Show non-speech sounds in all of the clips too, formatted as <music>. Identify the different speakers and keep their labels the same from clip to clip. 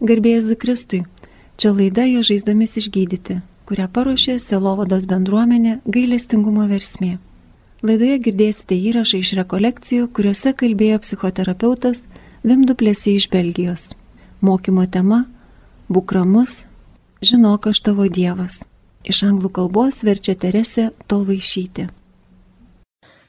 Speaker 1: Garbėjai Zikristui, čia laida Jo žaizdomis išgydyti, kurią paruošė Selovados bendruomenė gailestingumo versmė. Laidoje girdėsite įrašą iš rekolekcijų, kuriuose kalbėjo psichoterapeutas Vimduplėsi iš Belgijos. Mokymo tema - Bukramus, žinok aš tavo Dievas. Iš anglų kalbos verčia Teresė Tolvaišytė.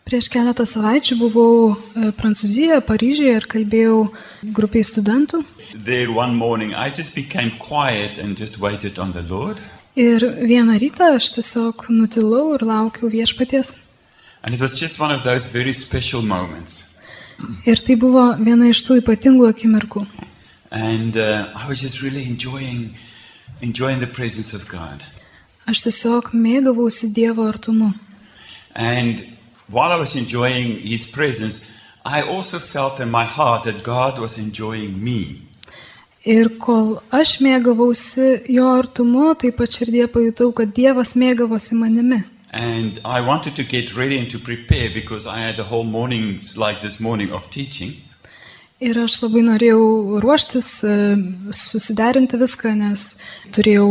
Speaker 2: Prieš keletą savaičių buvau e, Prancūzijoje, Paryžiuje ir kalbėjau grupiai studentų.
Speaker 3: There one morning, I just became quiet and just waited on the Lord.
Speaker 2: Ir vieną rytą aš tiesiog nutilau ir laukiau viešpaties.
Speaker 3: And it was just one of those very special moments.
Speaker 2: Ir tai buvo viena iš tų ypatingų akimirkų.
Speaker 3: And uh, I was just really enjoying, enjoying the presence of God.
Speaker 2: Aš tiesiog mėgavausi Dievo artumu.
Speaker 3: And while I was enjoying His presence, I also felt in my heart that God was enjoying me.
Speaker 2: Ir kol aš mėgavausi jo artumu, taip pat širdie pajutau, kad Dievas mėgavosi manimi.
Speaker 3: And I wanted to get ready and to prepare because I had a whole morning, like this morning, of teaching.
Speaker 2: Ir aš labai norėjau ruoštis, e, susiderinti viską, nes turėjau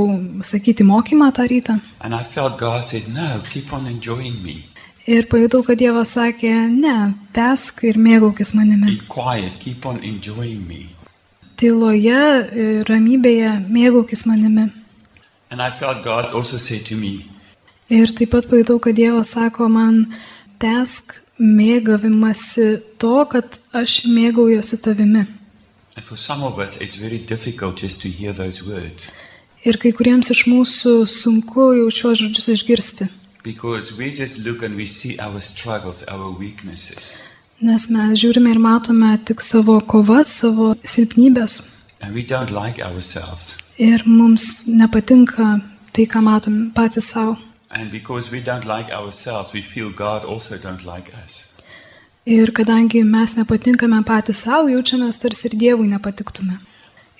Speaker 2: sakyti mokymą tą rytą.
Speaker 3: And I felt God said, No, keep on enjoying me.
Speaker 2: Ir pajutau, kad Dievas sakė, ne, tesk ir mėgaukis manimi.
Speaker 3: Be quiet, keep on enjoying me.
Speaker 2: Tyloje, e, ramybėje mėgaukis manimi.
Speaker 3: And I felt God also said to me,
Speaker 2: Ir taip pat pajutau, kad Dievas sako man, tesk mėgavimasi to, kad aš mėgaujuosi tavimi.
Speaker 3: And for some of us, it's very difficult just to hear those words
Speaker 2: Ir kai kuriems iš mūsų sunku jau šiuos žodžius išgirsti,
Speaker 3: because we just look and we see our struggles, our weaknesses,
Speaker 2: nes mes žiūrime ir matome tik savo kovas, savo silpnybės.
Speaker 3: and we don't like ourselves.
Speaker 2: Ir mums nepatinka tai, ką matom patys savo.
Speaker 3: And because we don't like ourselves, we feel God also don't like us.
Speaker 2: Ir kadangi mes nepatinkame patys savo, jaučiamės tarsi ir Dievui nepatiktume.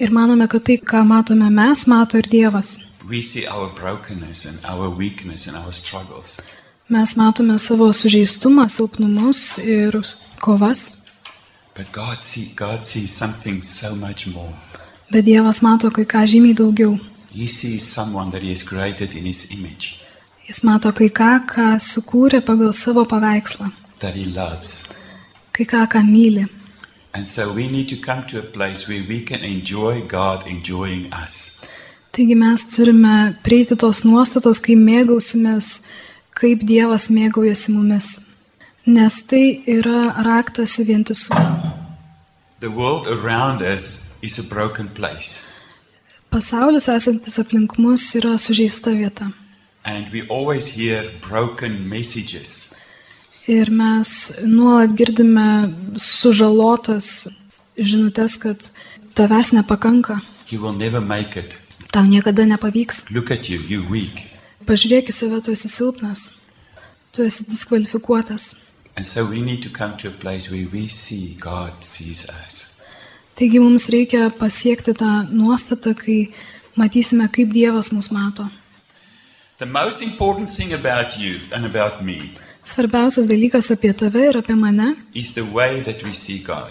Speaker 2: Ir manome, kad tai, ką matome mes, mato ir Dievas.
Speaker 3: We see our brokenness and our weakness and our struggles.
Speaker 2: Mes matome savo sužeistumą, silpnumus ir kovas,
Speaker 3: But God see God sees something so much more.
Speaker 2: bet Dievas mato kai ką žymiai daugiau.
Speaker 3: He sees someone that he has created in his image,
Speaker 2: Jis mato kai ką, ką sukūrė pagal savo paveikslą,
Speaker 3: that he loves.
Speaker 2: kai ką, ką myli.
Speaker 3: And so we need to come to a place where we can enjoy God enjoying us.
Speaker 2: Taigi mes turime prieiti tos nuostatos, kai mėgausimės, kaip Dievas mėgaujasi mumis. Nes tai yra raktas į vientisumą.
Speaker 3: The world around us is a broken place,
Speaker 2: Pasaulis esantis aplink mus yra sužeista vieta.
Speaker 3: and we always hear broken messages.
Speaker 2: Ir mes nuolat girdime sužalotas žinutės, kad tavęs nepakanka,
Speaker 3: You will never make it.
Speaker 2: tau niekada nepavyks.
Speaker 3: Look at you, you weak.
Speaker 2: Pažiūrėk į save, tu esi silpnas, tu esi diskvalifikuotas.
Speaker 3: And so we need to come to a place where we see God sees us.
Speaker 2: Taigi mums reikia pasiekti tą nuostatą, kai matysime, kaip Dievas mus mato.
Speaker 3: The most important thing about you and about me
Speaker 2: Svarbiausias dalykas apie tave ir apie mane
Speaker 3: is the way that we see God.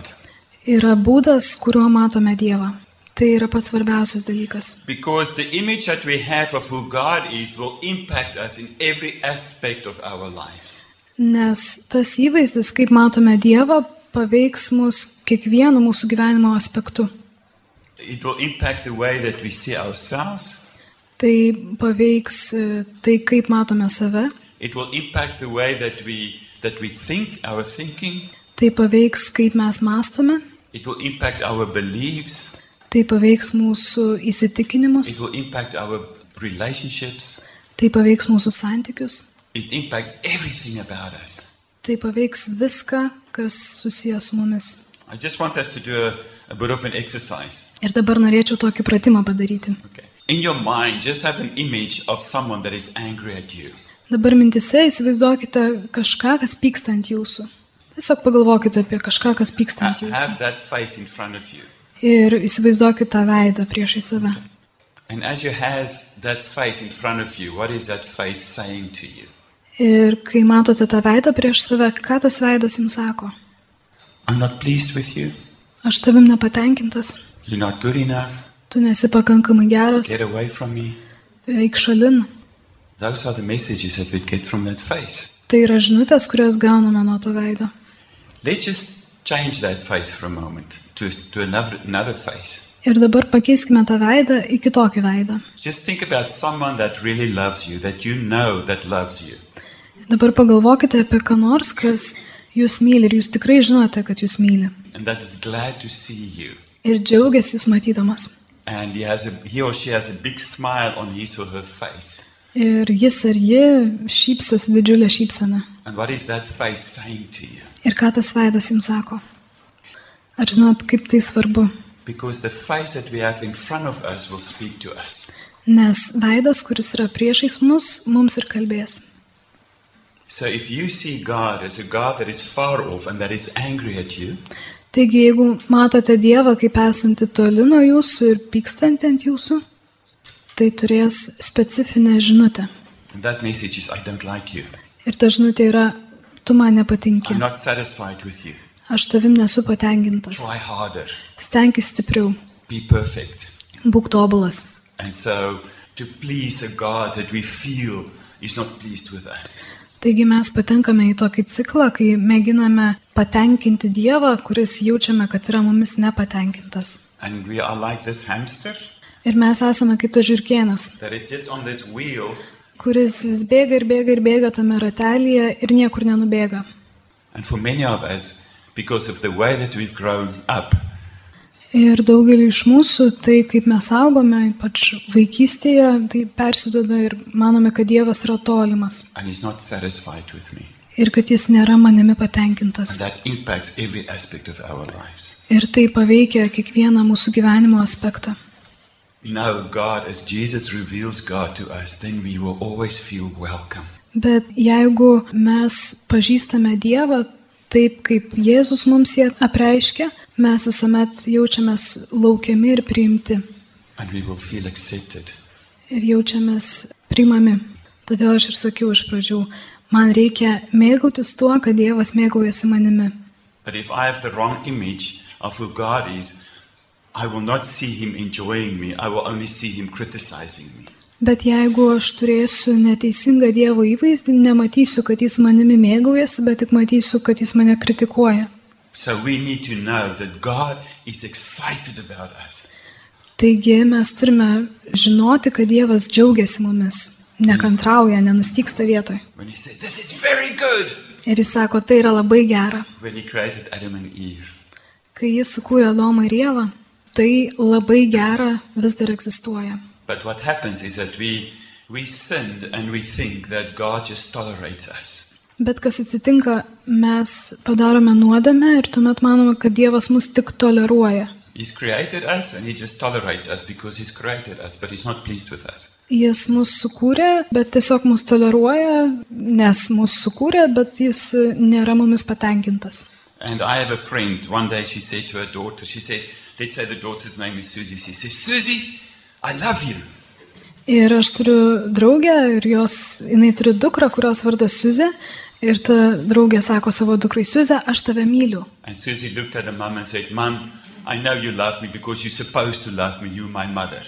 Speaker 2: yra būdas, kuriuo matome Dievą. Tai yra pats svarbiausias dalykas.
Speaker 3: Because the image that we have of who God is will impact us in every aspect of our lives.
Speaker 2: Nes tas įvaizdis, kaip matome Dievą, paveiks mus kiekvienu mūsų gyvenimo aspektu.
Speaker 3: It will impact the way that we see ourselves,
Speaker 2: Tai paveiks e, tai, kaip matome save,
Speaker 3: It will impact the way that we that we think, our thinking.
Speaker 2: tai paveiks, kaip mes mastome,
Speaker 3: It will impact our beliefs.
Speaker 2: tai paveiks mūsų
Speaker 3: It
Speaker 2: įsitikinimus,
Speaker 3: will impact our relationships.
Speaker 2: tai paveiks mūsų santykius,
Speaker 3: It impacts everything about us.
Speaker 2: tai paveiks viską, kas susijęs su mumis.
Speaker 3: I just want us to do a, a bit of an exercise.
Speaker 2: Ir dabar norėčiau tokį pratimą padaryti.
Speaker 3: Okay. In your mind, just have an image of someone that is angry at you.
Speaker 2: Dabar mintise įsivaizduokite kažką, kas pyksta ant jūsų. Tiesiog pagalvokite apie kažką, kas pyksta
Speaker 3: Ha-
Speaker 2: ant jūsų.
Speaker 3: Have that face in front of you.
Speaker 2: Ir įsivaizduokite tą veidą priešai save.
Speaker 3: And as you have that face in front of you, what is that face saying to you?
Speaker 2: Ir kai matote tą veidą prieš save, ką tas veidas jums sako?
Speaker 3: I'm not pleased with you.
Speaker 2: Aš tavim nepatenkintas,
Speaker 3: You're not good enough.
Speaker 2: tu nesi pakankamai geras,
Speaker 3: Get away from me.
Speaker 2: eik šalin.
Speaker 3: Those are the messages that we get from that face.
Speaker 2: Tai yra žinutės, kurias gauname nuo to veido.
Speaker 3: Let's just change that face for a moment to, to another, another face.
Speaker 2: Ir dabar pakeiskime tą veidą į kitokį veidą.
Speaker 3: Just think about someone that really loves you, that you know that loves you.
Speaker 2: Dabar pagalvokite apie ką nors, kas jūs myli ir jūs tikrai žinote, kad jūs myli.
Speaker 3: and that is glad to see you.
Speaker 2: Ir džiaugiasi jūs matydamas.
Speaker 3: And he, has a, he or she has a big smile on his or her face.
Speaker 2: Ir jis ar ji šypsosi didžiulę šypseną.
Speaker 3: And what is that face saying to you?
Speaker 2: Ir ką tas veidas jums sako? Ar žinot, kaip tai svarbu?
Speaker 3: Because the face that we have in front of us will speak to us.
Speaker 2: Nes veidas, kuris yra priešais mus, mums ir kalbės.
Speaker 3: So if you see God as a God that is far off and that is angry at you,
Speaker 2: Taigi, jeigu matote Dievą kaip esantį toli nuo jūsų ir pykstantį ant jūsų, tai turės specifinę žinutę.
Speaker 3: and that message is, I don't like you.
Speaker 2: Ir ta žinutė yra, tu man nepatinki,
Speaker 3: I'm not satisfied with you.
Speaker 2: aš tavim nesu patenkintas,
Speaker 3: Try harder.
Speaker 2: stenkis stipriau,
Speaker 3: Be perfect.
Speaker 2: būk tobulas.
Speaker 3: And so to please a God that we feel is not pleased with us.
Speaker 2: Taigi mes patenkame į tokį ciklą, kai mėginame patenkinti Dievą, kuris jaučiame, kad yra mumis nepatenkintas.
Speaker 3: And we are like this hamster
Speaker 2: Ir mes esame kaip tas žirkienas,
Speaker 3: that is just on this wheel
Speaker 2: kuris vis bėga ir bėga ir bėga tame ratelėje ir niekur nenubėga.
Speaker 3: And for many of us, because of the way that we've grown up,
Speaker 2: Ir daugelį iš mūsų, tai kaip mes augome, ypač vaikystėje, tai persidoda ir manome, kad Dievas yra tolimas
Speaker 3: and he's not satisfied with me.
Speaker 2: ir kad Jis nėra manimi
Speaker 3: And
Speaker 2: patenkintas.
Speaker 3: that impacts every aspect of our lives.
Speaker 2: Ir tai paveikia kiekvieną mūsų gyvenimo aspektą.
Speaker 3: Now, God, as Jesus reveals God to us, then we will always feel welcome.
Speaker 2: Bet jeigu mes pažįstame Dievą taip, kaip Jėzus mums jį apreiškia, mes visuomet jaučiamės laukiami ir priimti.
Speaker 3: And we will feel accepted.
Speaker 2: ir jaučiamės primami. Todėl aš ir sakiau iš pradžių, man reikia mėgautis tuo, kad Dievas mėgaujasi manimi.
Speaker 3: But if I have the wrong image of who God is, I will not see him enjoying me, I will only see him criticizing me.
Speaker 2: Bet jeigu aš turėsiu neteisingą Dievo įvaizdį, nematysiu, kad Jis manimi mėgaujasi, bet tik matysiu, kad Jis mane kritikuoja.
Speaker 3: So we need to know that God is excited about us.
Speaker 2: Taigi mes turime žinoti, kad Dievas džiaugiasi mumis, nekantrauja, nenustyksta vietoj.
Speaker 3: When he said, This is very good,
Speaker 2: Ir Jis sako, tai yra labai gera.
Speaker 3: when he created Adam and Eve.
Speaker 2: Kai Jis sukūrė Domą ir Jėvą, tai labai gera vis dar egzistuoja.
Speaker 3: But what happens is that we we sinned and we think that God just tolerates us.
Speaker 2: Bet kas atsitinka, mes padarome nuodėmę ir tuomet manome, kad Dievas mus tik toleruoja.
Speaker 3: He's created us and he just tolerates us because he's created us, but he's not pleased with us.
Speaker 2: Jis mus sukūrė, bet tiesiog mus toleruoja, nes mus sukūrė, bet jis nėra mumis patenkintas.
Speaker 3: And I have a friend, one day she said to her daughter, she said, let's say the daughter's name is Susie. She says, Susie, I love you.
Speaker 2: Ir aš turiu draugę ir jos, jinai turi dukrą, kurios vardas Suze. Ir ta draugė sako savo dukrai Suze, aš tave myliu.
Speaker 3: And Susie looked at her mum and said, Mum, I know you love me because you're supposed to love me. You're my mother.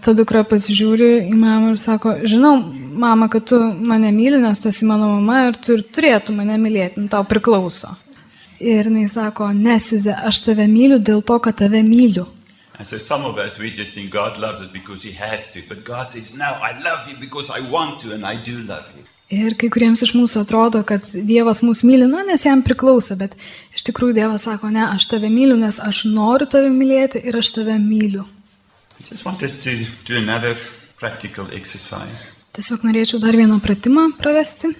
Speaker 2: Ta dukra pasižiūri į mamą ir sako, žinau, mama, kad tu mane myli, nes tu esi mano mama ir tu ir turėtų mane mylėti, nu, tau priklauso. Ir jinai sako, nesiuze, aš tave myliu dėl to, kad tave myliu.
Speaker 3: And so some of us, we just think God loves us because he has to. But God says, No, I love you because I want to and I do love you.
Speaker 2: Ir kai kuriems iš mūsų atrodo, kad Dievas mūsų myli, na, nes jam priklauso, bet iš tikrųjų Dievas sako, ne, aš tave myliu, nes aš noriu tave mylėti ir aš tave myliu.
Speaker 3: I just want us to do another practical exercise.
Speaker 2: Tiesiog norėčiau dar vieną pratimą pravesti.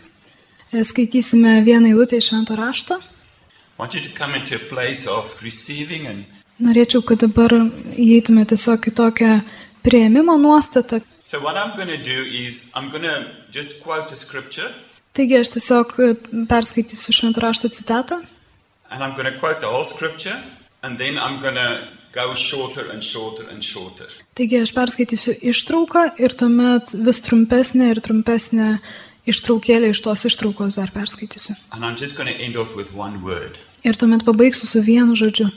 Speaker 2: E, Skaitysime vieną eilutę iš švento rašto.
Speaker 3: I want you to come into a place of receiving and
Speaker 2: Norėčiau, kad dabar įeitume tiesiog į tokią prieimimo nuostatą.
Speaker 3: so what I'm going to do is I'm going to just quote a scripture
Speaker 2: Taigi aš tiesiog e, perskaitysiu šventų rašto citatą
Speaker 3: and I'm going to quote the whole scripture and then I'm going to go shorter and shorter and shorter.
Speaker 2: Taigi aš perskaitysiu ištrauką ir tuomet vis trumpesnė ir trumpesnė ištraukėlė iš tos ištraukos dar perskaitysiu.
Speaker 3: And I'm just going to end off with one word.
Speaker 2: Ir tuomet pabaigsiu su vienu žodžiu.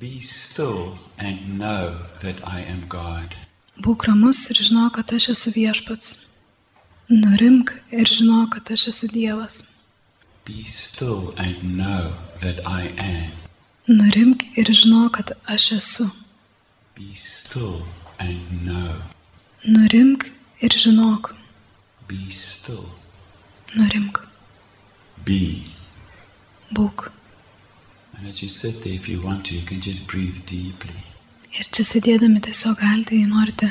Speaker 3: Be still and know that I am God.
Speaker 2: Būk ramus ir žinok, kad aš esu viešpats. Nurimk ir žinok, kad aš esu Dievas.
Speaker 3: Be still and know that I am.
Speaker 2: Nurimk ir žinok, kad aš esu.
Speaker 3: Be still and know.
Speaker 2: Nurimk ir žinok.
Speaker 3: Be still.
Speaker 2: Nurimk.
Speaker 3: Be.
Speaker 2: Būk.
Speaker 3: And as you sit there, if you want to, you can just breathe deeply.
Speaker 2: Ir čia sėdėdami tiesiog galite, jei norite,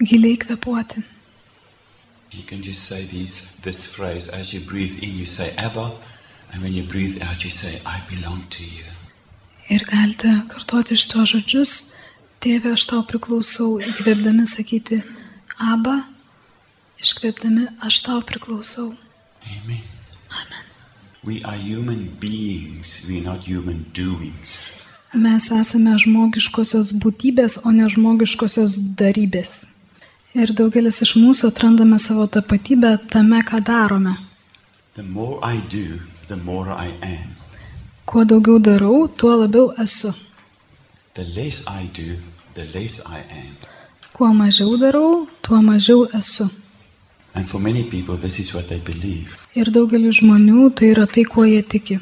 Speaker 2: giliai kvepuoti.
Speaker 3: You can just say these, this phrase as you breathe in, you say Abba, and when you breathe out, you say, I belong to you.
Speaker 2: Ir galite kartoti iš tuos žodžius, Tėve, aš tau priklausau, įkvėpdami sakyti Aba, iškvėpdami aš tau priklausau.
Speaker 3: Amen. Amen. We are human beings, we are not human doings.
Speaker 2: Mes esame žmogiškosios būtybės, o ne žmogiškosios darybės. Ir daugelis iš mūsų atrandame savo tapatybę tame, ką darome.
Speaker 3: The more I do, the more I am.
Speaker 2: Kuo daugiau darau, tuo labiau esu.
Speaker 3: The less I do, the less I am.
Speaker 2: Kuo mažiau darau, tuo mažiau esu.
Speaker 3: And for many people, this is what they believe.
Speaker 2: Ir daugeliu žmonių tai yra tai, kuo jie tiki.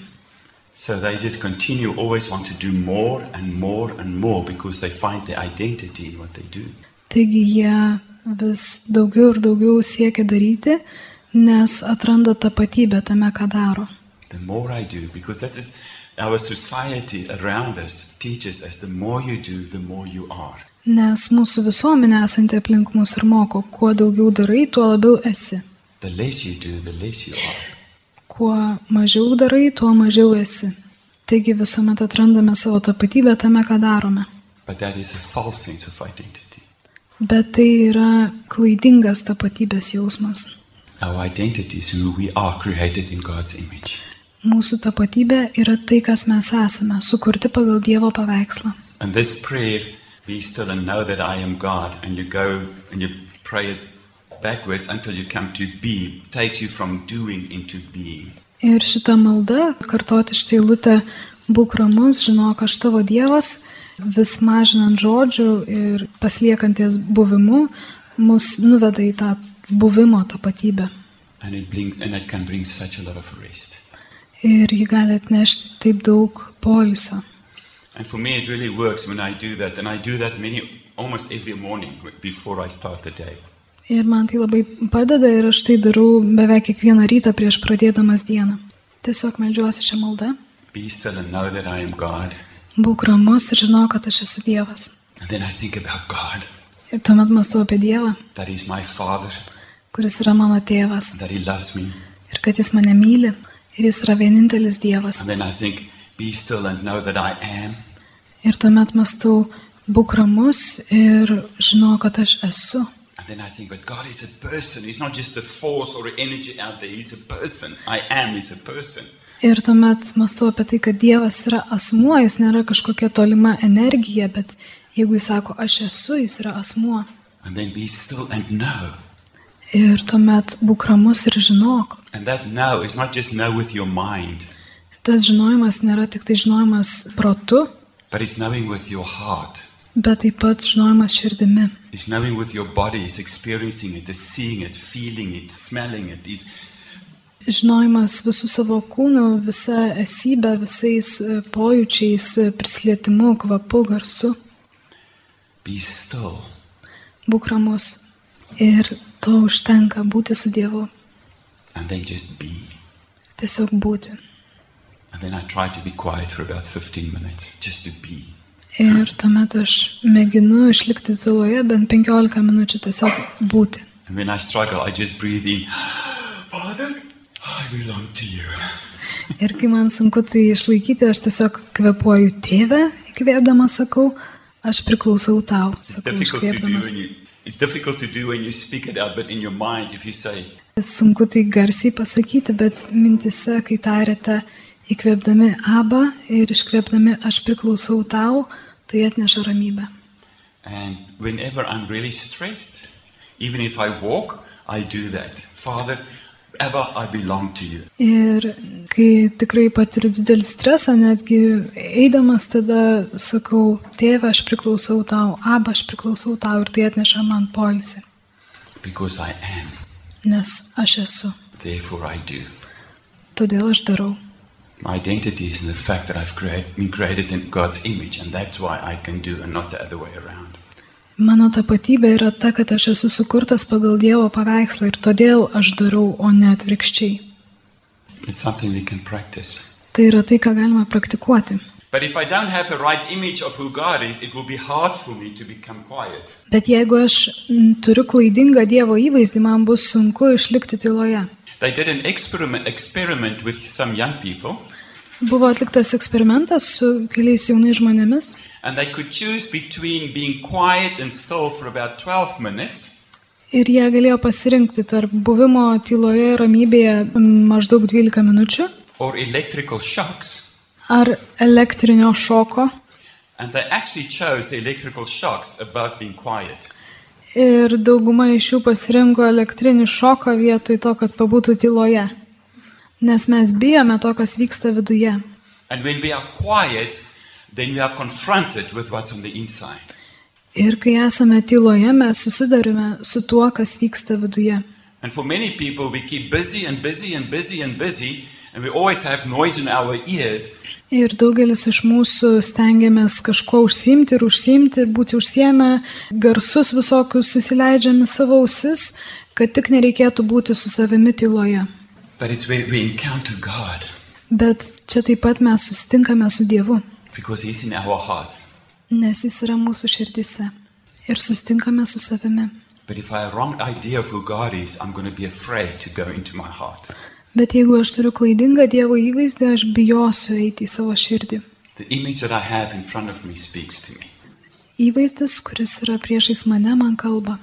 Speaker 3: So they just continue, always want to do more and more and more because they find their identity in what they do.
Speaker 2: Taigi jie vis daugiau ir daugiau siekia daryti, nes atranda tapatybę tame, ką daro.
Speaker 3: The more I do, because that is our society around us teaches us the more you do, the more you are.
Speaker 2: Nes mūsų visuomenė esanti aplink mus ir moko, kuo daugiau darai, tuo labiau esi.
Speaker 3: The less you do, the less you are.
Speaker 2: Kuo mažiau darai, tuo mažiau esi. Taigi visuomet atrandame savo tapatybę tame, ką darome.
Speaker 3: But that is a false sense of identity.
Speaker 2: Bet tai yra klaidingas tapatybės jausmas.
Speaker 3: Our identity is who we are, created in God's image.
Speaker 2: Mūsų tapatybė yra tai, kas mes esame, sukurti pagal Dievo paveikslą.
Speaker 3: And this prayer, be still and know that I am God, and you go and you pray it backwards until you come to be, takes you from doing into being.
Speaker 2: Ir šita malda, kartoti šitą eilutę, būk ramus, žinok, aš tavo Dievas, vis mažinant žodžių ir pasliekanties buvimu, mus nuveda į tą buvimo tapatybę.
Speaker 3: And it, brings, and it can bring such a lot of rest.
Speaker 2: Ir ji gali atnešti taip daug poliso.
Speaker 3: And for me, it really works when I do that, and I do that many, almost every morning before I start the day.
Speaker 2: Ir man tai labai padeda ir aš tai darau beveik kiekvieną rytą prieš pradėdamas dieną. Tiesiog melžiuosi šią maldą.
Speaker 3: Be still and know that I am God.
Speaker 2: Būk ramus ir žinau, kad aš esu Dievas.
Speaker 3: And then I think about God,
Speaker 2: Ir tuomet mąstau apie Dievą,
Speaker 3: that He's my Father,
Speaker 2: kuris yra mano tėvas
Speaker 3: that He loves me.
Speaker 2: ir kad jis mane myli ir jis yra vienintelis Dievas.
Speaker 3: And then I think, be still and know that I am.
Speaker 2: Ir tuomet mąstau, būk ramus ir žinau, kad aš esu.
Speaker 3: And then I think, but God is a person. He's not just a force or an energy out there. He's a person. I am is a person.
Speaker 2: Ir tuomet mąstau apie tai, kad Dievas yra asmuo, jis nėra kažkokia tolima energija, bet jeigu jis sako, aš esu, jis yra asmuo.
Speaker 3: And then be still and know.
Speaker 2: Ir tuomet būk ramus ir žinok.
Speaker 3: And that know is not just know with your mind,
Speaker 2: Tas žinojimas nėra tik tai žinojimas protu,
Speaker 3: but it's knowing with your heart.
Speaker 2: bet taip pat žinojimas širdimi.
Speaker 3: It's knowing with your body. It's experiencing it. It's seeing it, feeling it, smelling it. It's,
Speaker 2: Žinojimas visų savo kūnų, visa esybė, visais e, pojūčiais, e, prisilietimu, kvapu, garsu.
Speaker 3: be still.
Speaker 2: Būk ramus. Ir to užtenka būti su Dievu.
Speaker 3: And then just be.
Speaker 2: Tiesiog būti.
Speaker 3: And then I try to be quiet for about 15 minutes, just to be.
Speaker 2: Ir tuomet aš mėginu išlikti tyloje bent 15 minučių tiesiog būti.
Speaker 3: And when I struggle, I just breathe in, <gasps> Father, I belong to you.
Speaker 2: Ir kai man sunku tai išlaikyti, aš tiesiog kvepuoju tėvę, įkvėpdama sakau, aš priklausau tau,
Speaker 3: It's
Speaker 2: sakau,
Speaker 3: difficult to do
Speaker 2: iškvėpdamas.
Speaker 3: when you. It's difficult to do when you speak it out, but in your mind, if you say,
Speaker 2: Sunku tai garsiai pasakyti, bet mintise, kai tarėte įkvėpdami abą ir iškvėpdami aš priklausau tau, tai atneša ramybę.
Speaker 3: and whenever I'm really stressed, even if I walk, I do that. Father, Abba, I belong to you.
Speaker 2: Ir kai tikrai patiriu didelį stresą, netgi eidamas tada sakau, tėve, aš priklausau tau, abą, aš priklausau tau ir tai atneša man poilsį.
Speaker 3: Because I am,
Speaker 2: Nes aš esu,
Speaker 3: therefore I do.
Speaker 2: todėl aš darau.
Speaker 3: My identity is in the fact that I've create, been created in God's image, and that's why I can do and not the other way around.
Speaker 2: Mano tapatybė yra ta, kad aš esu sukurtas pagal Dievo paveikslą ir todėl aš darau, o ne atvirkščiai.
Speaker 3: It's something we can practice.
Speaker 2: Tai yra tai, ką galima praktikuoti.
Speaker 3: But if I don't have the right image of who God is, it will be hard for me to become quiet.
Speaker 2: Bet jeigu aš mm, turiu klaidingą Dievo įvaizdį, man bus sunku išlikti tyloje.
Speaker 3: They did an experiment, experiment with some young people,
Speaker 2: Buvo atliktas eksperimentas su keliais jaunais žmonėmis
Speaker 3: and they could choose between being quiet and still for about 12 minutes
Speaker 2: ir jie galėjo pasirinkti tarp buvimo tyloje ir ramybėje mm, maždaug 12 minučių
Speaker 3: or electrical shocks.
Speaker 2: ar elektrinio šoko.
Speaker 3: And they actually chose the electrical shocks above being quiet.
Speaker 2: Ir dauguma iš jų pasirinko elektrinį šoką vietoj to, kad pabūtų tyloje. Nes mes bijome to, kas vyksta viduje.
Speaker 3: And when we are quiet, then we are confronted with what's on the inside.
Speaker 2: Ir kai esame tyloje, mes susidarime su tuo, kas vyksta viduje.
Speaker 3: And for many people, we keep busy and busy and busy and busy, and we always have noise in our ears.
Speaker 2: Ir daugelis iš mūsų stengiamės kažkuo užsimti ir užsimti ir būti užsiemę, garsus visokius susileidžiami savo ausis, kad tik nereikėtų būti su savimi tyloje.
Speaker 3: But it's where we encounter God
Speaker 2: Bet čia taip pat mes susitinkame su Dievu,
Speaker 3: because He's in our hearts.
Speaker 2: nes Jis yra mūsų širdise. Ir susitinkame su savimi.
Speaker 3: But if I have a wrong idea of who God is, I'm going to be afraid to go into my heart.
Speaker 2: Bet jeigu aš turiu klaidingą Dievo įvaizdį, aš bijosiu eiti į savo širdį.
Speaker 3: The image that I have in front of me speaks to me.
Speaker 2: Įvaizdis, kuris yra priešais mane, man kalba.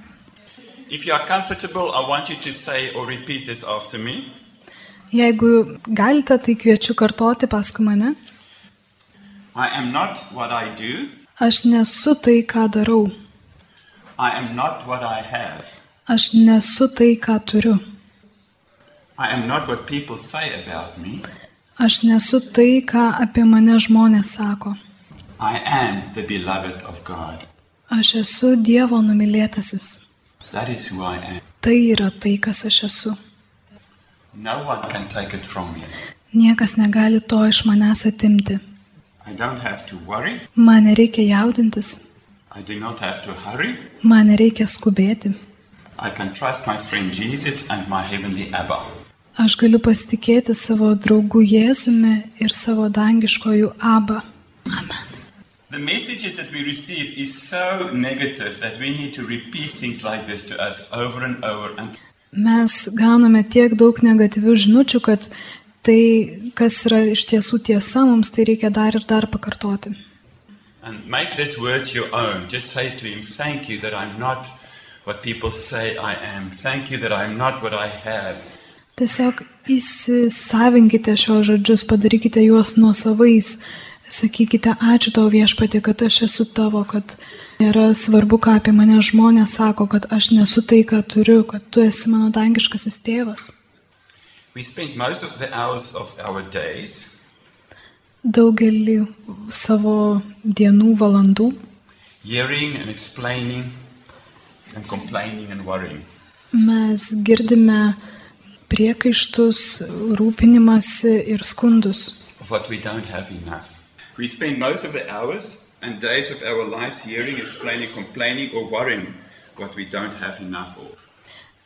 Speaker 3: If you are comfortable, I want you to say or repeat this after me.
Speaker 2: Jeigu galite, tai kviečiu kartoti paskui mane.
Speaker 3: I am not what I do.
Speaker 2: Aš nesu tai, ką darau.
Speaker 3: I am not what I have.
Speaker 2: Aš nesu tai, ką turiu.
Speaker 3: I am not what people say about me.
Speaker 2: Aš nesu tai, ką apie mane žmonės sako.
Speaker 3: I am the beloved of God.
Speaker 2: Aš esu Dievo numylėtasis.
Speaker 3: That is who I am.
Speaker 2: Tai yra tai, kas aš esu.
Speaker 3: No one can take it from me.
Speaker 2: Niekas negali to iš manęs atimti.
Speaker 3: I don't have to worry.
Speaker 2: Man nereikia jaudintis,
Speaker 3: I do not have to hurry.
Speaker 2: man nereikia skubėti.
Speaker 3: I can trust my friend Jesus and my heavenly Abba.
Speaker 2: Aš galiu pasitikėti savo draugu Jėzumi ir savo dangiškojų abą. Amen.
Speaker 3: The messages that we receive is so negative that we need to repeat things like this to us over and over. And
Speaker 2: Mes gauname tiek daug negatyvių žinučių, kad tai, kas yra iš tiesų tiesa, mums tai reikia dar ir dar pakartoti.
Speaker 3: and make these words your own. Just say to him, "Thank you that I'm not what people say I am. Thank you that I'm not what I have.
Speaker 2: Tiesiog įsisavinkite šios žodžius, padarykite juos nuosavais. Sakykite, ačiū tau viešpatė, kad aš esu tavo, kad nėra svarbu, ką apie mane žmonės sako, kad aš nesu tai, ką turiu, kad tu esi mano dangiškasis tėvas.
Speaker 3: We spend most of the hours of our days
Speaker 2: Daugelį savo dienų, valandų
Speaker 3: hearing and explaining and complaining and worrying.
Speaker 2: mes girdime priekaištus, rūpinimąsi ir skundus.
Speaker 3: of what we don't have enough. We spend most of the hours and days of our lives hearing, explaining, complaining, or worrying what we don't have enough of.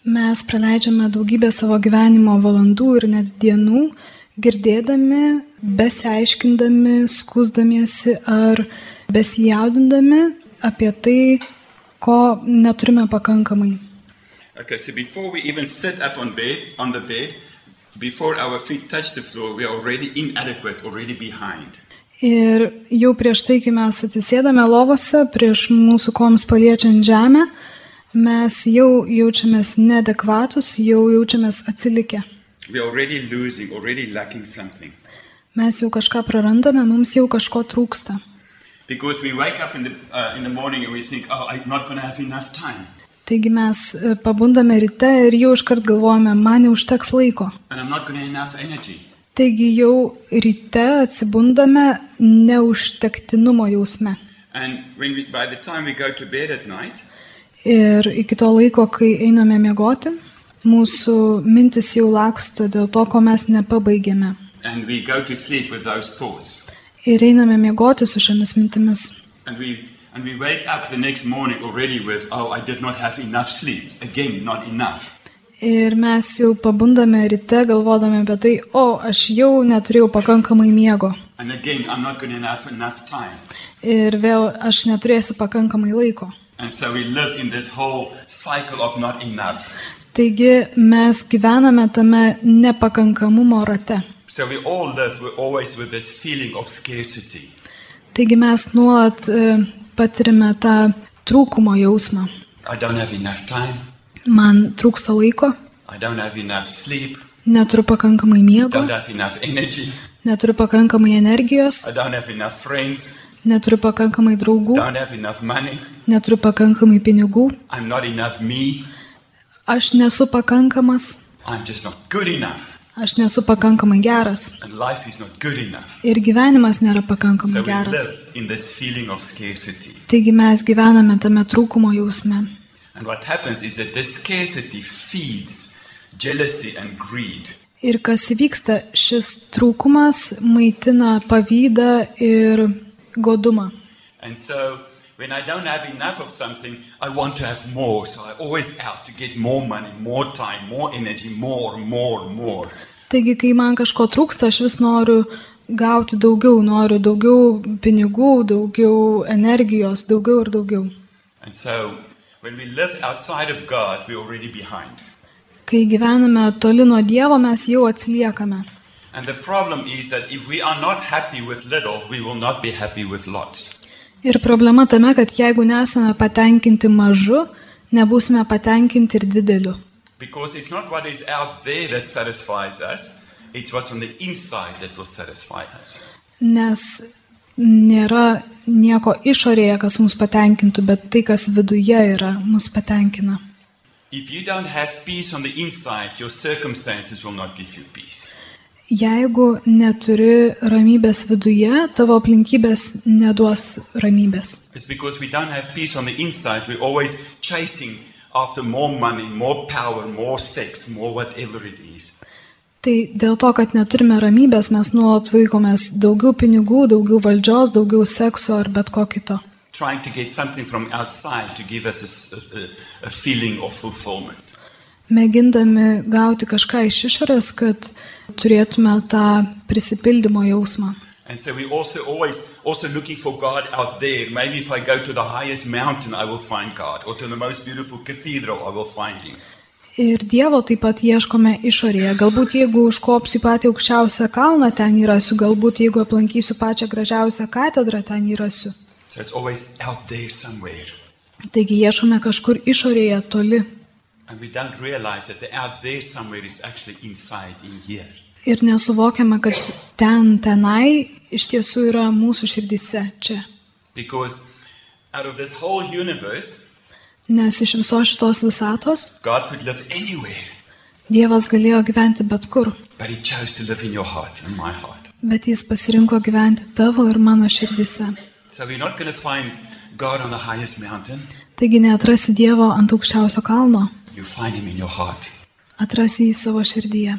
Speaker 2: Mes praleidžiame daugybę savo gyvenimo valandų ir net dienų, girdėdami, besiaiškindami, skusdamiesi ar besijaudindami apie tai, ko neturime pakankamai.
Speaker 3: Okay, so before we even sit up on bed, on the bed, before our feet touch the floor, we are already inadequate, already behind.
Speaker 2: Ir jau prieš tai, kai mes atsisėdame lovose, prieš mūsų koms paliečiant žemę, mes jau jaučiamės nedekvatus, jau jaučiamės atsilikę.
Speaker 3: We are already losing, already lacking something.
Speaker 2: Mes jau kažką prarandame, mums jau kažko trūksta.
Speaker 3: Because we wake up in the, uh, in the morning and we think, oh, I'm not going to have enough time.
Speaker 2: Tai Taigi mes e, pabundame ryte ir jau iškart galvojame, man neužteks laiko.
Speaker 3: and I'm not going to have enough energy.
Speaker 2: Taigi jau ryte atsibundame neužtektinumo jausme.
Speaker 3: And when we, by the time we go to bed at night,
Speaker 2: Ir iki to laiko, kai einame miegoti, mūsų mintis jau laksto dėl to, ko mes nepabaigėme.
Speaker 3: and we go to sleep with those thoughts,
Speaker 2: Ir einame miegoti su šiomis mintimis.
Speaker 3: and we and we wake up the next morning already with, oh, I did not have enough sleep. Again, not enough.
Speaker 2: Ir mes jau pabundame ryte galvodami apie tai, o aš jau neturėjau pakankamai miego.
Speaker 3: And again, I'm not going to have enough time.
Speaker 2: Ir vėl aš neturėsiu pakankamai laiko.
Speaker 3: And so we live in this whole cycle of not enough.
Speaker 2: Taigi mes gyvename tame nepakankamumo rate.
Speaker 3: So we all live we're always with this feeling of scarcity.
Speaker 2: Taigi mes nuolat e, patirime tą trūkumo jausmą.
Speaker 3: I don't have enough time.
Speaker 2: Man trūksta laiko,
Speaker 3: I don't have enough sleep.
Speaker 2: neturiu pakankamai miego,
Speaker 3: Don't have enough energy.
Speaker 2: neturiu pakankamai energijos,
Speaker 3: I don't have enough friends.
Speaker 2: neturiu pakankamai draugų,
Speaker 3: Don't have enough money.
Speaker 2: neturiu pakankamai pinigų,
Speaker 3: I'm not enough me.
Speaker 2: aš nesu pakankamas,
Speaker 3: I'm just not good enough.
Speaker 2: aš nesu pakankamai geras.
Speaker 3: And life is not good enough.
Speaker 2: Ir gyvenimas nėra pakankamai
Speaker 3: So we
Speaker 2: geras.
Speaker 3: live in this feeling of scarcity.
Speaker 2: Taigi mes gyvename tame trūkumo jausme.
Speaker 3: And what happens is that this scarcity feeds jealousy and greed.
Speaker 2: Ir kas įvyksta, šis trūkumas maitina pavydą ir godumą.
Speaker 3: And so when I don't have enough of something, I want to have more. So I always out to get more money, more time, more energy, more, more, more.
Speaker 2: Taigi, kai man kažko trūksta, aš vis noriu gauti daugiau, noriu daugiau pinigų, daugiau energijos, daugiau ir daugiau.
Speaker 3: And so when we live outside of God, we're already behind.
Speaker 2: Kai gyvename toli nuo Dievo, mes jau atsiliekame.
Speaker 3: And the problem is that if we are not happy with little, we will not be happy with lots.
Speaker 2: Ir problema tame, kad jeigu nesame patenkinti mažu, nebūsime patenkinti ir dideliu.
Speaker 3: Because it's not what is out there that satisfies us, it's what's on the inside that will satisfy us.
Speaker 2: Nes nėra nieko išorėje, kas mus patenkintų, bet tai, kas viduje yra, mus patenkina.
Speaker 3: If you don't have peace on the inside, your circumstances will not give you peace.
Speaker 2: Jeigu neturi ramybės viduje, tavo aplinkybės neduos ramybės.
Speaker 3: It's because we don't have peace on the inside. We're always chasing after more money, more power, more sex, more whatever it is.
Speaker 2: Tai dėl to, kad neturime ramybės, mes nuolat vaikomės daugiau pinigų, daugiau valdžios, daugiau sekso ar bet ko kito.
Speaker 3: Trying to get something from outside to give us a s- a, a- a feeling of fulfillment.
Speaker 2: Mėgindami gauti kažką iš išorės, kad turėtume tą prisipildymo jausmą.
Speaker 3: And so we're also always also looking for God out there. Maybe if I go to the highest mountain, I will find God, or to the most beautiful cathedral, I will find Him.
Speaker 2: Ir Dievo taip pat ieškome išorėje. Galbūt jeigu užkopsiu į patį aukščiausią kalną, ten įrasiu. Galbūt jeigu aplankysiu pačią gražiausią katedrą, ten įrasiu.
Speaker 3: So it's always out there somewhere.
Speaker 2: Taigi ieškome kažkur išorėje toli.
Speaker 3: And we don't realize that the out there somewhere is actually inside in here.
Speaker 2: Ir nesuvokiame, kad ten, tenai iš tiesų yra mūsų širdyse čia.
Speaker 3: Because out of this whole universe,
Speaker 2: Nes iš visos šitos visatos
Speaker 3: God could live anywhere,
Speaker 2: Dievas galėjo gyventi bet kur,
Speaker 3: but He chose to live in your heart, in my heart.
Speaker 2: bet jis pasirinko gyventi tavo ir mano širdyse.
Speaker 3: So we're not going to find God on the highest mountain.
Speaker 2: Taigi neatrasi Dievo ant aukščiausio kalno,
Speaker 3: You find Him in your heart.
Speaker 2: atrasi jį savo širdyje.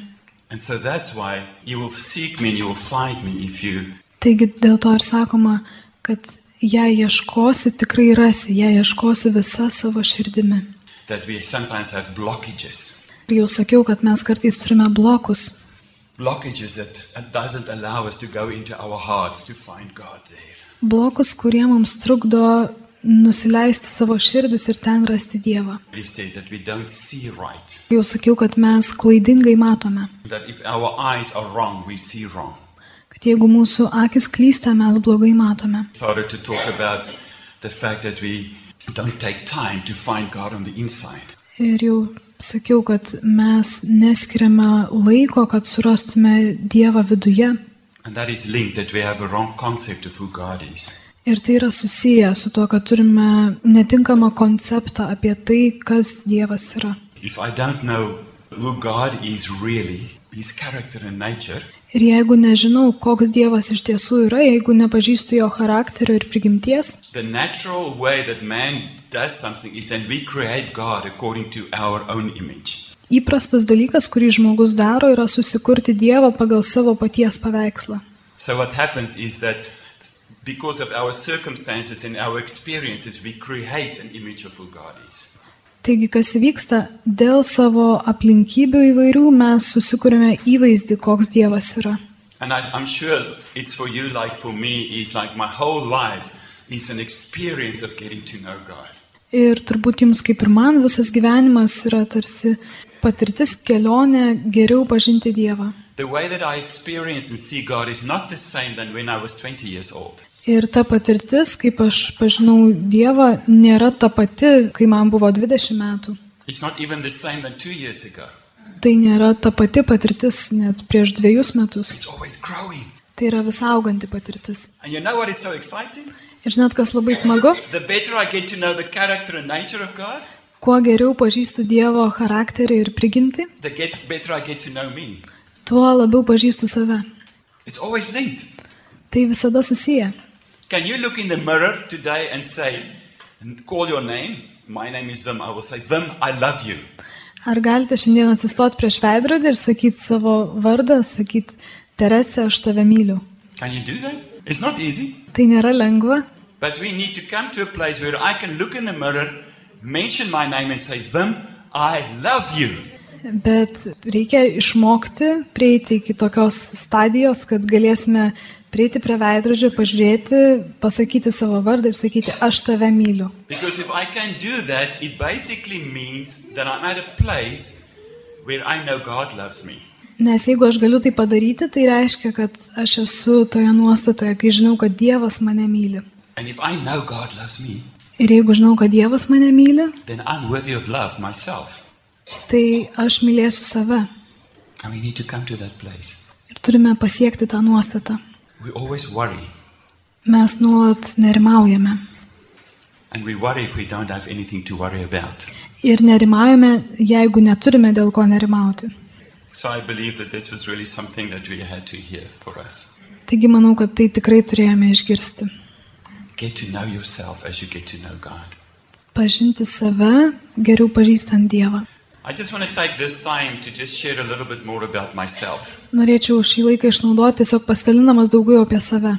Speaker 3: And so that's why you will seek me and you will find me if you.
Speaker 2: Taigi dėl to ir sakoma, kad jei ieškosi, tikrai rasi, jei ieškosi visą savo širdimi.
Speaker 3: That we sometimes have blockages,
Speaker 2: Ir jau sakiau, kad mes kartais turime blokus,
Speaker 3: blockages that, that doesn't allow us to go into our hearts to find God there.
Speaker 2: blokus, kurie mums trukdo nusileisti savo širdis ir ten rasti Dievą.
Speaker 3: He said that we don't see right.
Speaker 2: Jau sakiau, kad mes klaidingai matome,
Speaker 3: That if our eyes are wrong, we see wrong.
Speaker 2: kad jeigu mūsų akis klysta, mes blogai matome.
Speaker 3: started to talk about the fact that we don't take time to find God on the inside.
Speaker 2: Ir jau sakiau, kad mes neskiriame laiko, kad surastume Dievą viduje.
Speaker 3: And that is linked that we have a wrong concept of who God is.
Speaker 2: Ir tai yra susiję su to, kad turime netinkamą konceptą apie tai, kas Dievas yra.
Speaker 3: If I don't know who God is really, his character and nature,
Speaker 2: Ir jeigu nežinau, koks Dievas iš tiesų yra, jeigu nepažįstu jo charakterio ir prigimties,
Speaker 3: the natural way that man does something is that we create God according to our own image.
Speaker 2: įprastas dalykas, kurį žmogus daro, yra susikurti Dievą pagal savo paties paveikslą.
Speaker 3: So what happens is that because of our circumstances and our experiences, we create an image of who God is.
Speaker 2: Taigi, kas vyksta, dėl savo aplinkybių įvairių mes susikūrėme įvaizdį, koks Dievas yra.
Speaker 3: And I, I'm sure it's for you, like for me, is like my whole life is an experience of getting to know God.
Speaker 2: Ir turbūt jums kaip ir man visas gyvenimas yra tarsi patirtis kelionė geriau pažinti Dievą.
Speaker 3: The way that I experience and see God is not the same than when I was 20 years old.
Speaker 2: Ir ta patirtis, kaip aš pažinau Dievą, nėra ta pati, kai man buvo 20 metų.
Speaker 3: It's not even the same than two years ago.
Speaker 2: Tai nėra ta pati patirtis net prieš dviejus metus.
Speaker 3: It's always growing.
Speaker 2: Tai yra vis auganti patirtis.
Speaker 3: And you know what? It's so exciting.
Speaker 2: Ir žinot, kas labai smagu?
Speaker 3: The better I get to know the character and nature of God,
Speaker 2: Kuo geriau pažįstu Dievo charakterį ir prigimti,
Speaker 3: the get better I get to know me.
Speaker 2: tuo labiau pažįstu save.
Speaker 3: It's always linked.
Speaker 2: Tai visada susiję.
Speaker 3: Can you look in the mirror today and say, and call your name? My name is Vim. I will say, Vim, I love you.
Speaker 2: Ar galite šiandien atsistoti prieš veidrodį ir sakyti savo vardą, sakyti, Terese, aš tave myliu.
Speaker 3: Can you do that? It's not easy.
Speaker 2: Tai nėra lengva,
Speaker 3: But we need to come to a place where I can look in the mirror, mention my name, and say, Vim, I love you.
Speaker 2: bet reikia išmokti prieiti iki tokios stadijos, kad galėsime prieiti prie veidrodžio, pažiūrėti, pasakyti savo vardą ir sakyti, aš tave myliu.
Speaker 3: Because if I can do that, it basically means that I'm at a place where I know God loves me.
Speaker 2: Nes jeigu aš galiu tai padaryti, tai reiškia, kad aš esu toje nuostatoje, kai žinau, kad Dievas mane myli.
Speaker 3: And if I know God loves me,
Speaker 2: Ir jeigu žinau, kad Dievas mane myli,
Speaker 3: then I'm worthy of love myself.
Speaker 2: tai aš mylėsiu save.
Speaker 3: And we need to come to that place.
Speaker 2: Ir turime pasiekti tą nuostatą.
Speaker 3: We always worry,
Speaker 2: Mes nuolat nerimaujame.
Speaker 3: and we worry if we don't have anything to worry about.
Speaker 2: Ir nerimaujame, jeigu neturime dėl ko nerimauti.
Speaker 3: So I believe that this was really something that we had to hear for us.
Speaker 2: Taigi manau, kad tai tikrai turėjome išgirsti.
Speaker 3: Get to know yourself as you get to know God.
Speaker 2: Pažinti save, geriau pažįstant Dievą.
Speaker 3: I just want to take this time to just share a little bit more about myself.
Speaker 2: Norėčiau šį laiką išnaudoti tiesiog pasidalinamas daugiau apie save.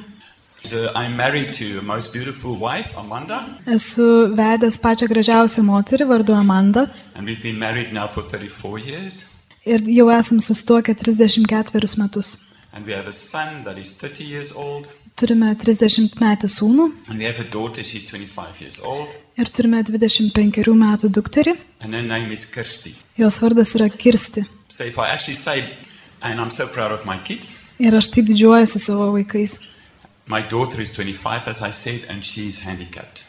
Speaker 3: The- I'm married to a most beautiful wife, Amanda,
Speaker 2: Esu vedęs pačią gražiausią moterį vardu Amanda
Speaker 3: and we've been married now for 34 years.
Speaker 2: ir jau esam susituokę 34 metus.
Speaker 3: And we have a son that is 30 years old,
Speaker 2: Turime 30 metį sūnų
Speaker 3: and we have a daughter, she's 25 years old,
Speaker 2: ir turime 25 metų dukterį.
Speaker 3: and her name is Kirsty.
Speaker 2: Jos vardas yra Kirsti.
Speaker 3: So if I actually say, and I'm so proud of my kids,
Speaker 2: Ir aš taip didžiuojuosi savo vaikais.
Speaker 3: my daughter is 25, as I said, and she's handicapped.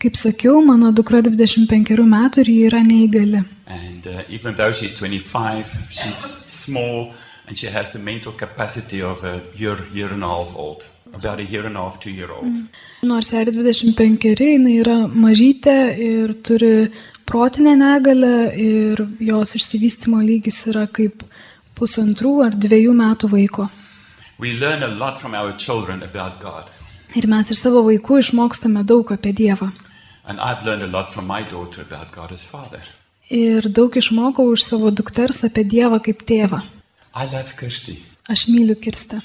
Speaker 2: Kaip sakiau, mano dukra 25 metų ir ji yra neįgali.
Speaker 3: And uh, even though she's 25, she's small and she has the mental capacity of a year, year and a half old, about a year and a half, two year old.
Speaker 2: Nors jai yra 25, jinai yra mažytė ir turi protinę negalę ir jos išsivystimo lygis yra kaip pusantrų ar dviejų metų vaiko.
Speaker 3: We learn a lot from our children about God.
Speaker 2: Ir mes iš savo vaikų išmokstame daug apie Dievą.
Speaker 3: And I've learned a lot from my daughter about God as Father.
Speaker 2: Ir daug išmokau iš savo dukters apie Dievą kaip tėvą.
Speaker 3: I love Kirsty
Speaker 2: Aš myliu Kirstę.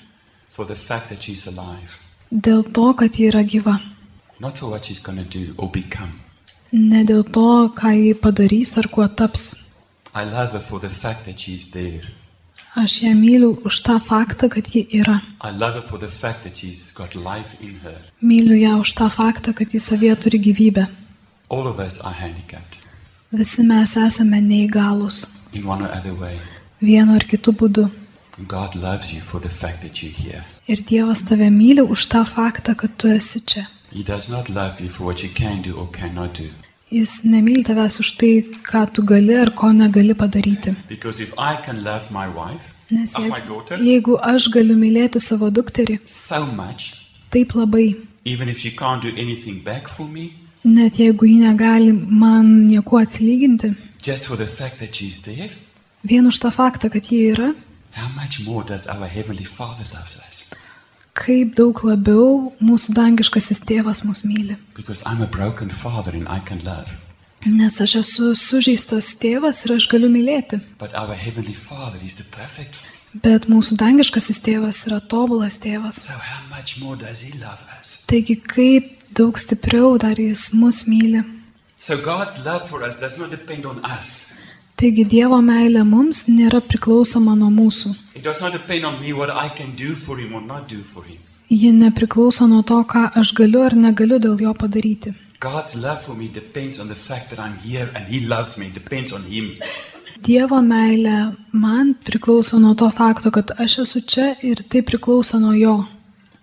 Speaker 3: for the fact that she's alive,
Speaker 2: Dėl to, kad ji yra gyva.
Speaker 3: not for what she's going to do or become.
Speaker 2: Ne dėl to, ką ji padarys ar kuo taps.
Speaker 3: I love her for the fact that she's there.
Speaker 2: Aš ją myliu už tą faktą, kad ji yra.
Speaker 3: I love her for the fact that she's got life in her.
Speaker 2: Myliu ją už tą faktą, kad ji savyje turi gyvybę.
Speaker 3: All of us are handicapped
Speaker 2: Visi mes esame neįgalūs
Speaker 3: in one or other way.
Speaker 2: vienu ar kitu būdu.
Speaker 3: God loves you for the fact that you're here.
Speaker 2: Ir Dievas tave myli už tą faktą, kad tu esi čia.
Speaker 3: He does not love you for what you can do or cannot do.
Speaker 2: Jis nemyli tavęs už tai, ką tu gali ar ko negali padaryti.
Speaker 3: Because if I can love my wife,
Speaker 2: Nes
Speaker 3: of my
Speaker 2: jeigu,
Speaker 3: daughter,
Speaker 2: jeigu aš galiu mylėti savo dukterį
Speaker 3: so much,
Speaker 2: taip labai,
Speaker 3: Even if she can't do anything back for me,
Speaker 2: Net jeigu ji negali man nieko atsilyginti,
Speaker 3: just for the fact that she's there,
Speaker 2: vien už tą faktą, kad ji yra,
Speaker 3: how much more does our Heavenly Father loves us?
Speaker 2: kaip daug labiau mūsų dangiškasis tėvas mus myli.
Speaker 3: Because I'm a broken father and I can love.
Speaker 2: Nes aš esu sužeistas tėvas ir aš galiu mylėti.
Speaker 3: But our Heavenly Father is the perfect.
Speaker 2: Bet mūsų dangiškasis tėvas yra tobulas tėvas.
Speaker 3: So how much more does He love us?
Speaker 2: Taigi kaip daug stipriau dar jis mus myli.
Speaker 3: So God's love for us does not depend on us.
Speaker 2: Taigi Dievo meilė mums nėra priklausoma nuo mūsų.
Speaker 3: It does not depend on me what I can do for Him or not do for Him.
Speaker 2: Ji nepriklauso nuo to, ką aš galiu ar negaliu dėl jo padaryti.
Speaker 3: God's love for me depends on the fact that I'm here and He loves me. It depends on Him.
Speaker 2: Dievo meilė man priklauso nuo to fakto, kad aš esu čia ir tai priklauso nuo jo.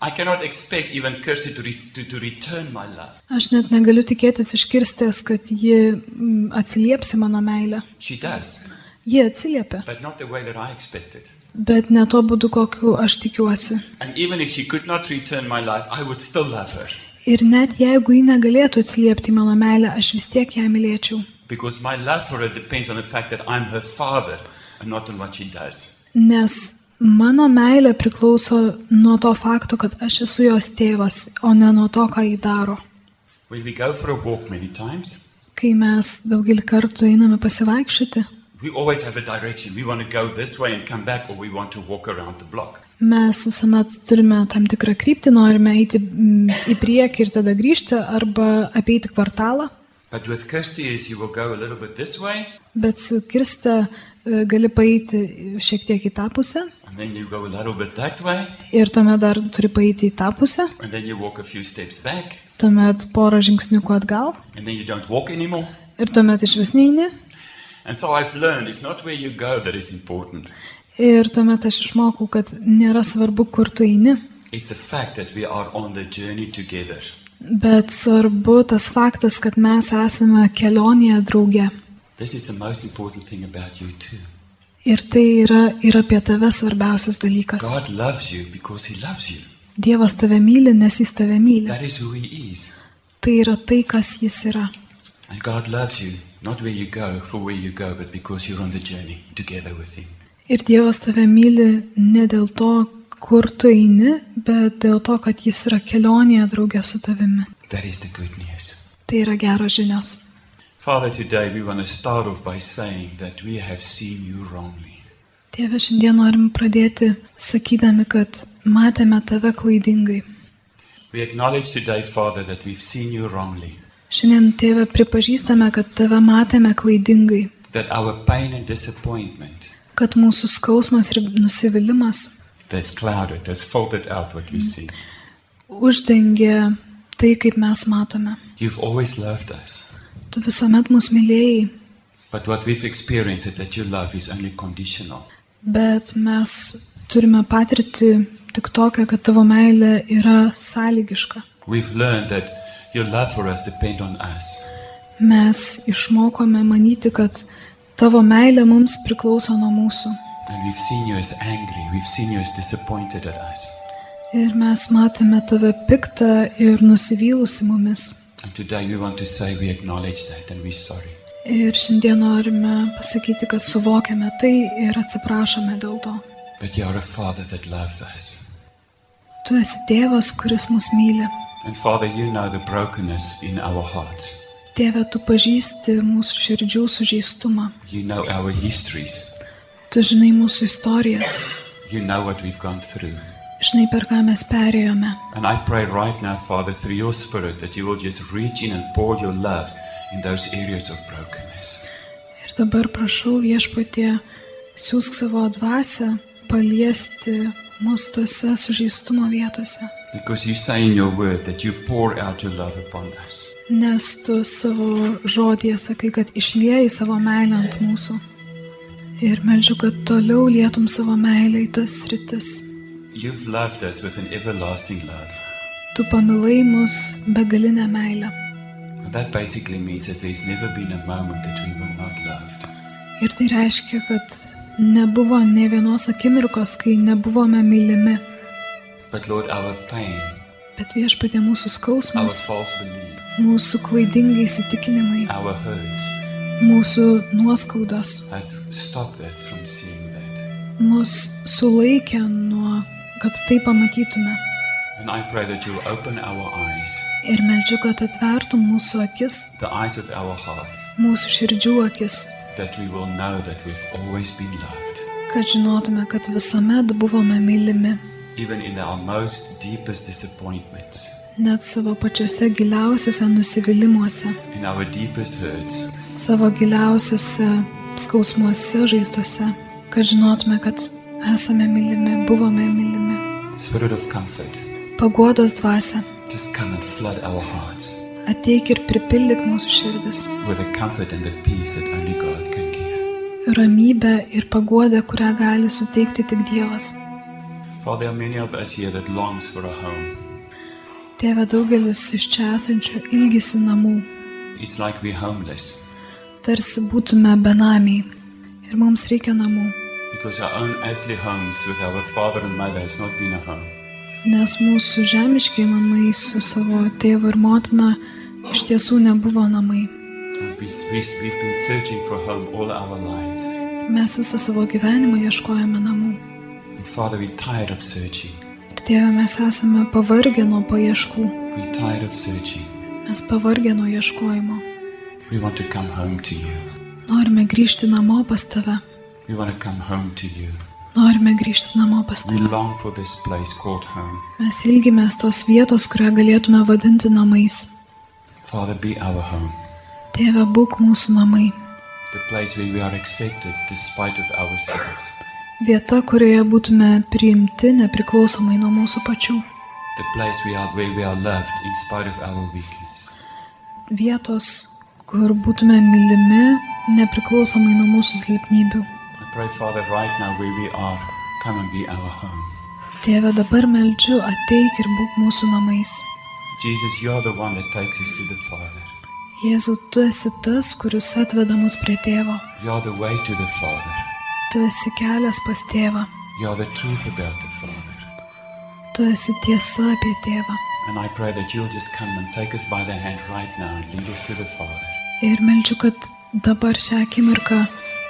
Speaker 3: I cannot expect even Kirsty to, re- to, to return my love.
Speaker 2: Aš net negaliu tikėtis iškirstęs, kad ji mm, atsiliepsi mano meilę.
Speaker 3: She does,
Speaker 2: Ji atsiliepia,
Speaker 3: but not the way that I expected.
Speaker 2: bet ne tuo būdu, kokiu aš tikiuosi.
Speaker 3: And even if she could not return my life, I would still love her
Speaker 2: Ir net jeigu ji negalėtų atsiliepti į mano meilę, aš vis tiek ją mylėčiau.
Speaker 3: because my love for her depends on the fact that I'm her father and not on what she does.
Speaker 2: Nes mano meilė priklauso nuo to fakto, kad aš esu jos tėvas, o ne nuo to, ką ji daro.
Speaker 3: When we go for a walk many times,
Speaker 2: Kai mes daugelį kartų einame pasivaikščioti,
Speaker 3: we always have a direction. We want to go this way and come back, or we want to walk around the block.
Speaker 2: mes visuomet turime tam tikrą kryptį, norime eiti mm, į priekį ir tada grįžti arba apeiti kvartalą,
Speaker 3: But with Kirsty, is you will go a little bit this way,
Speaker 2: bet su kirste e, gali paeiti šiek tiek į tą pusę
Speaker 3: and then you go a little bit that way,
Speaker 2: ir tuomet dar turi paeiti į tą pusę,
Speaker 3: and then you walk a few steps back,
Speaker 2: tuomet porą žingsniukų atgal
Speaker 3: and then you don't walk anymore.
Speaker 2: ir tuomet iš vis neini.
Speaker 3: And so I've learned it's not where you go that is important.
Speaker 2: Ir tuomet aš išmokau, kad nėra svarbu, kur tu eini,
Speaker 3: It's the fact that we are on the journey together.
Speaker 2: bet svarbu tas faktas, kad mes esame kelionėje drauge.
Speaker 3: This is the most important thing about you, too.
Speaker 2: Ir tai yra ir apie tave svarbiausias dalykas.
Speaker 3: God loves you because He loves you.
Speaker 2: Dievas tave myli, nes jis tave myli.
Speaker 3: That is who He is.
Speaker 2: Tai yra tai, kas jis yra.
Speaker 3: And God loves you, not where you go, for where you go, but because you're on the journey together with Him.
Speaker 2: Ir Dievas tave myli ne dėl to, kur tu eini, bet dėl to, kad jis yra kelionėje draugė su tavimi.
Speaker 3: That is the good news.
Speaker 2: Tai yra geros žinios.
Speaker 3: Father, today we want to start off by saying that we have seen you wrongly.
Speaker 2: Tėve, šiandien norim pradėti sakydami, kad matėme tave klaidingai.
Speaker 3: We acknowledge today, Father, that we've seen you wrongly,
Speaker 2: Šiandien, tėve, pripažįstame, kad tave matėme klaidingai,
Speaker 3: that our pain and disappointment
Speaker 2: kad mūsų skausmas ir nusivylimas
Speaker 3: that's clouded, that's folded out what we see.
Speaker 2: uždengė tai, kaip mes matome.
Speaker 3: You've always loved us,
Speaker 2: Tu visuomet mus mylėjai,
Speaker 3: but what we've experienced is that your love is only conditional.
Speaker 2: Bet mes turime patirti tik tokią, kad tavo meilė yra sąlygiška.
Speaker 3: We've learned that your love for us depends on us.
Speaker 2: Mes išmokome manyti, kad tavo meilė mums priklauso nuo mūsų.
Speaker 3: And we've seen you as angry, we've seen you as disappointed at us.
Speaker 2: Ir mes matėme tave piktą ir nusivylusi mumis.
Speaker 3: And today we want to say we acknowledge that and we're sorry.
Speaker 2: Ir šiandien norime pasakyti, kad suvokiame tai ir atsiprašome dėl to.
Speaker 3: But you are a father that loves us.
Speaker 2: Tu esi tėvas, kuris mus myli.
Speaker 3: And Father, you know the brokenness in our hearts.
Speaker 2: Tėve, tu pažįsti mūsų širdžių sužeistumą.
Speaker 3: You know our histories.
Speaker 2: Tu žinai mūsų istorijas.
Speaker 3: You know what we've gone through.
Speaker 2: Žinai, per ką mes perėjome.
Speaker 3: And I pray right now, Father, through your Spirit, that you will just reach in and pour your love in those areas of brokenness.
Speaker 2: Ir dabar prašau viešpatie, siūsk savo dvasę paliesti mus tose sužeistumo vietose.
Speaker 3: Because you say in your word that you pour out your love upon us.
Speaker 2: Nes tu savo žodėje sakai, kad išlieji savo meilę ant mūsų. Ir melžiu, kad toliau lietum savo meilę į tas rytis.
Speaker 3: You've loved us with an everlasting love.
Speaker 2: Tu pamilai mus begalinę meilę.
Speaker 3: And that basically means that there's never been a moment that we were not loved.
Speaker 2: Ir tai reiškia, kad nebuvo ne vienos akimirkos, kai nebuvome mylimi.
Speaker 3: But Lord, our pain,
Speaker 2: Bet viešpatė mūsų
Speaker 3: our
Speaker 2: skausmas,
Speaker 3: false belief,
Speaker 2: mūsų klaidingai įsitikinimai,
Speaker 3: our hurts,
Speaker 2: mūsų nuoskaudos
Speaker 3: has stopped us from seeing that.
Speaker 2: mus sulaikė nuo, kad tai pamatytume.
Speaker 3: And I pray that you will open our eyes,
Speaker 2: Ir melčiu, kad atvertum mūsų akis,
Speaker 3: the eyes of our hearts,
Speaker 2: mūsų širdžių akis,
Speaker 3: that we will know that we've always been loved,
Speaker 2: kad žinotume, kad visuomet buvome mylimi,
Speaker 3: even in our most deepest disappointments,
Speaker 2: net savo pačiuose giliausiuose nusivylimuose,
Speaker 3: in our deepest hurts,
Speaker 2: savo giliausiuose skausmuose, žaizduose, kad žinotume, kad esame mylimi, buvome mylimi.
Speaker 3: Spirit of comfort,
Speaker 2: Paguodos dvasia,
Speaker 3: just come and flood our hearts
Speaker 2: ateik ir pripildyk mūsų širdis,
Speaker 3: with the comfort and the peace that only God can give.
Speaker 2: ramybę ir paguodą, kurią gali suteikti tik Dievas.
Speaker 3: Father, there are many of us here that longs for a home.
Speaker 2: Tėve daugelis iš čia esančių ilgisi namų,
Speaker 3: It's like we're homeless
Speaker 2: tarsi būtume benamiai. Ir mums reikia namų,
Speaker 3: because our own earthly homes with our father and mother has not been a home.
Speaker 2: nes mūsų žemiškiai namai su savo tėvu ir motina iš tiesų nebuvo namai.
Speaker 3: And we, we- we've been searching for home all our lives.
Speaker 2: Mes visą savo gyvenimą ieškojame namų.
Speaker 3: And Father, we're tired of searching.
Speaker 2: Ir Tėve, mes esame pavargę nuo paieškų,
Speaker 3: We're tired of searching.
Speaker 2: mes pavargę nuo ieškojimo.
Speaker 3: We want to come home to you.
Speaker 2: Norime grįžti namo pas tave,
Speaker 3: We want to come home to you.
Speaker 2: norime grįžti namo pas
Speaker 3: We
Speaker 2: tave.
Speaker 3: long for this place called home.
Speaker 2: Mes ilgimės tos vietos, kurią galėtume vadinti namais.
Speaker 3: Father, be our home.
Speaker 2: Tėve, būk mūsų namai.
Speaker 3: the place where we are accepted despite of ourselves,
Speaker 2: Vieta, kurioje būtume priimti nepriklausomai nuo mūsų pačių.
Speaker 3: the place we are where we are loved in spite of our weakness.
Speaker 2: Vietos, kur būtume mylimi nepriklausomai nuo mūsų silpnybių.
Speaker 3: I pray, Father, right now where we are, come and be our home.
Speaker 2: Tėve, dabar meldžiu, ateik ir būk mūsų namais.
Speaker 3: Jesus, you are the one that takes us to the Father.
Speaker 2: Jėzau, tu esi tas, kuris atveda mus prie tėvo.
Speaker 3: You are the way to the Father.
Speaker 2: Tu esi kelias pas tėvą.
Speaker 3: You are the truth about the Father.
Speaker 2: Tu esi tiesa apie tėvą.
Speaker 3: And I pray that you'll just come and take us by the hand right now and lead us to the Father.
Speaker 2: Ir melčiu, kad dabar šią akimirką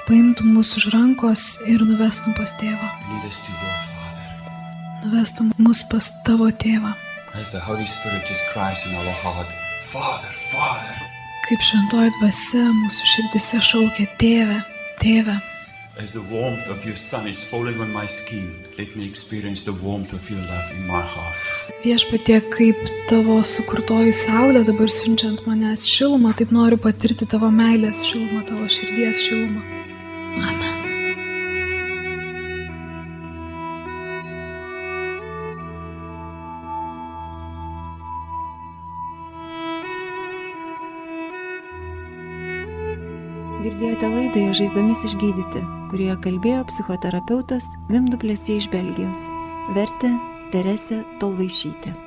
Speaker 2: paimtum mus už rankos ir nuvestum pas tėvą.
Speaker 3: Lead us to your Father.
Speaker 2: Nuvestum mus pas tavo tėvą.
Speaker 3: As the Holy Spirit just cries in our heart, Father, Father.
Speaker 2: Kaip šventoji dvasia mūsų širdise šaukia tėvę, tėvę.
Speaker 3: As the warmth of your sun is falling on my skin, let me experience the warmth of your love in my heart.
Speaker 2: Viešpatie, kaip tavo sukurtoji saulė dabar siunčiant manęs šilumą, taip noriu patirti tavo meilės šilumą, tavo širdies šilumą. Amen.
Speaker 1: Girdėjote laidą Žaizdomis išgydyti, kurioje kalbėjo psichoterapeutas Vimduplėsi iš Belgijos. Vertė Terese Tolvaišytė.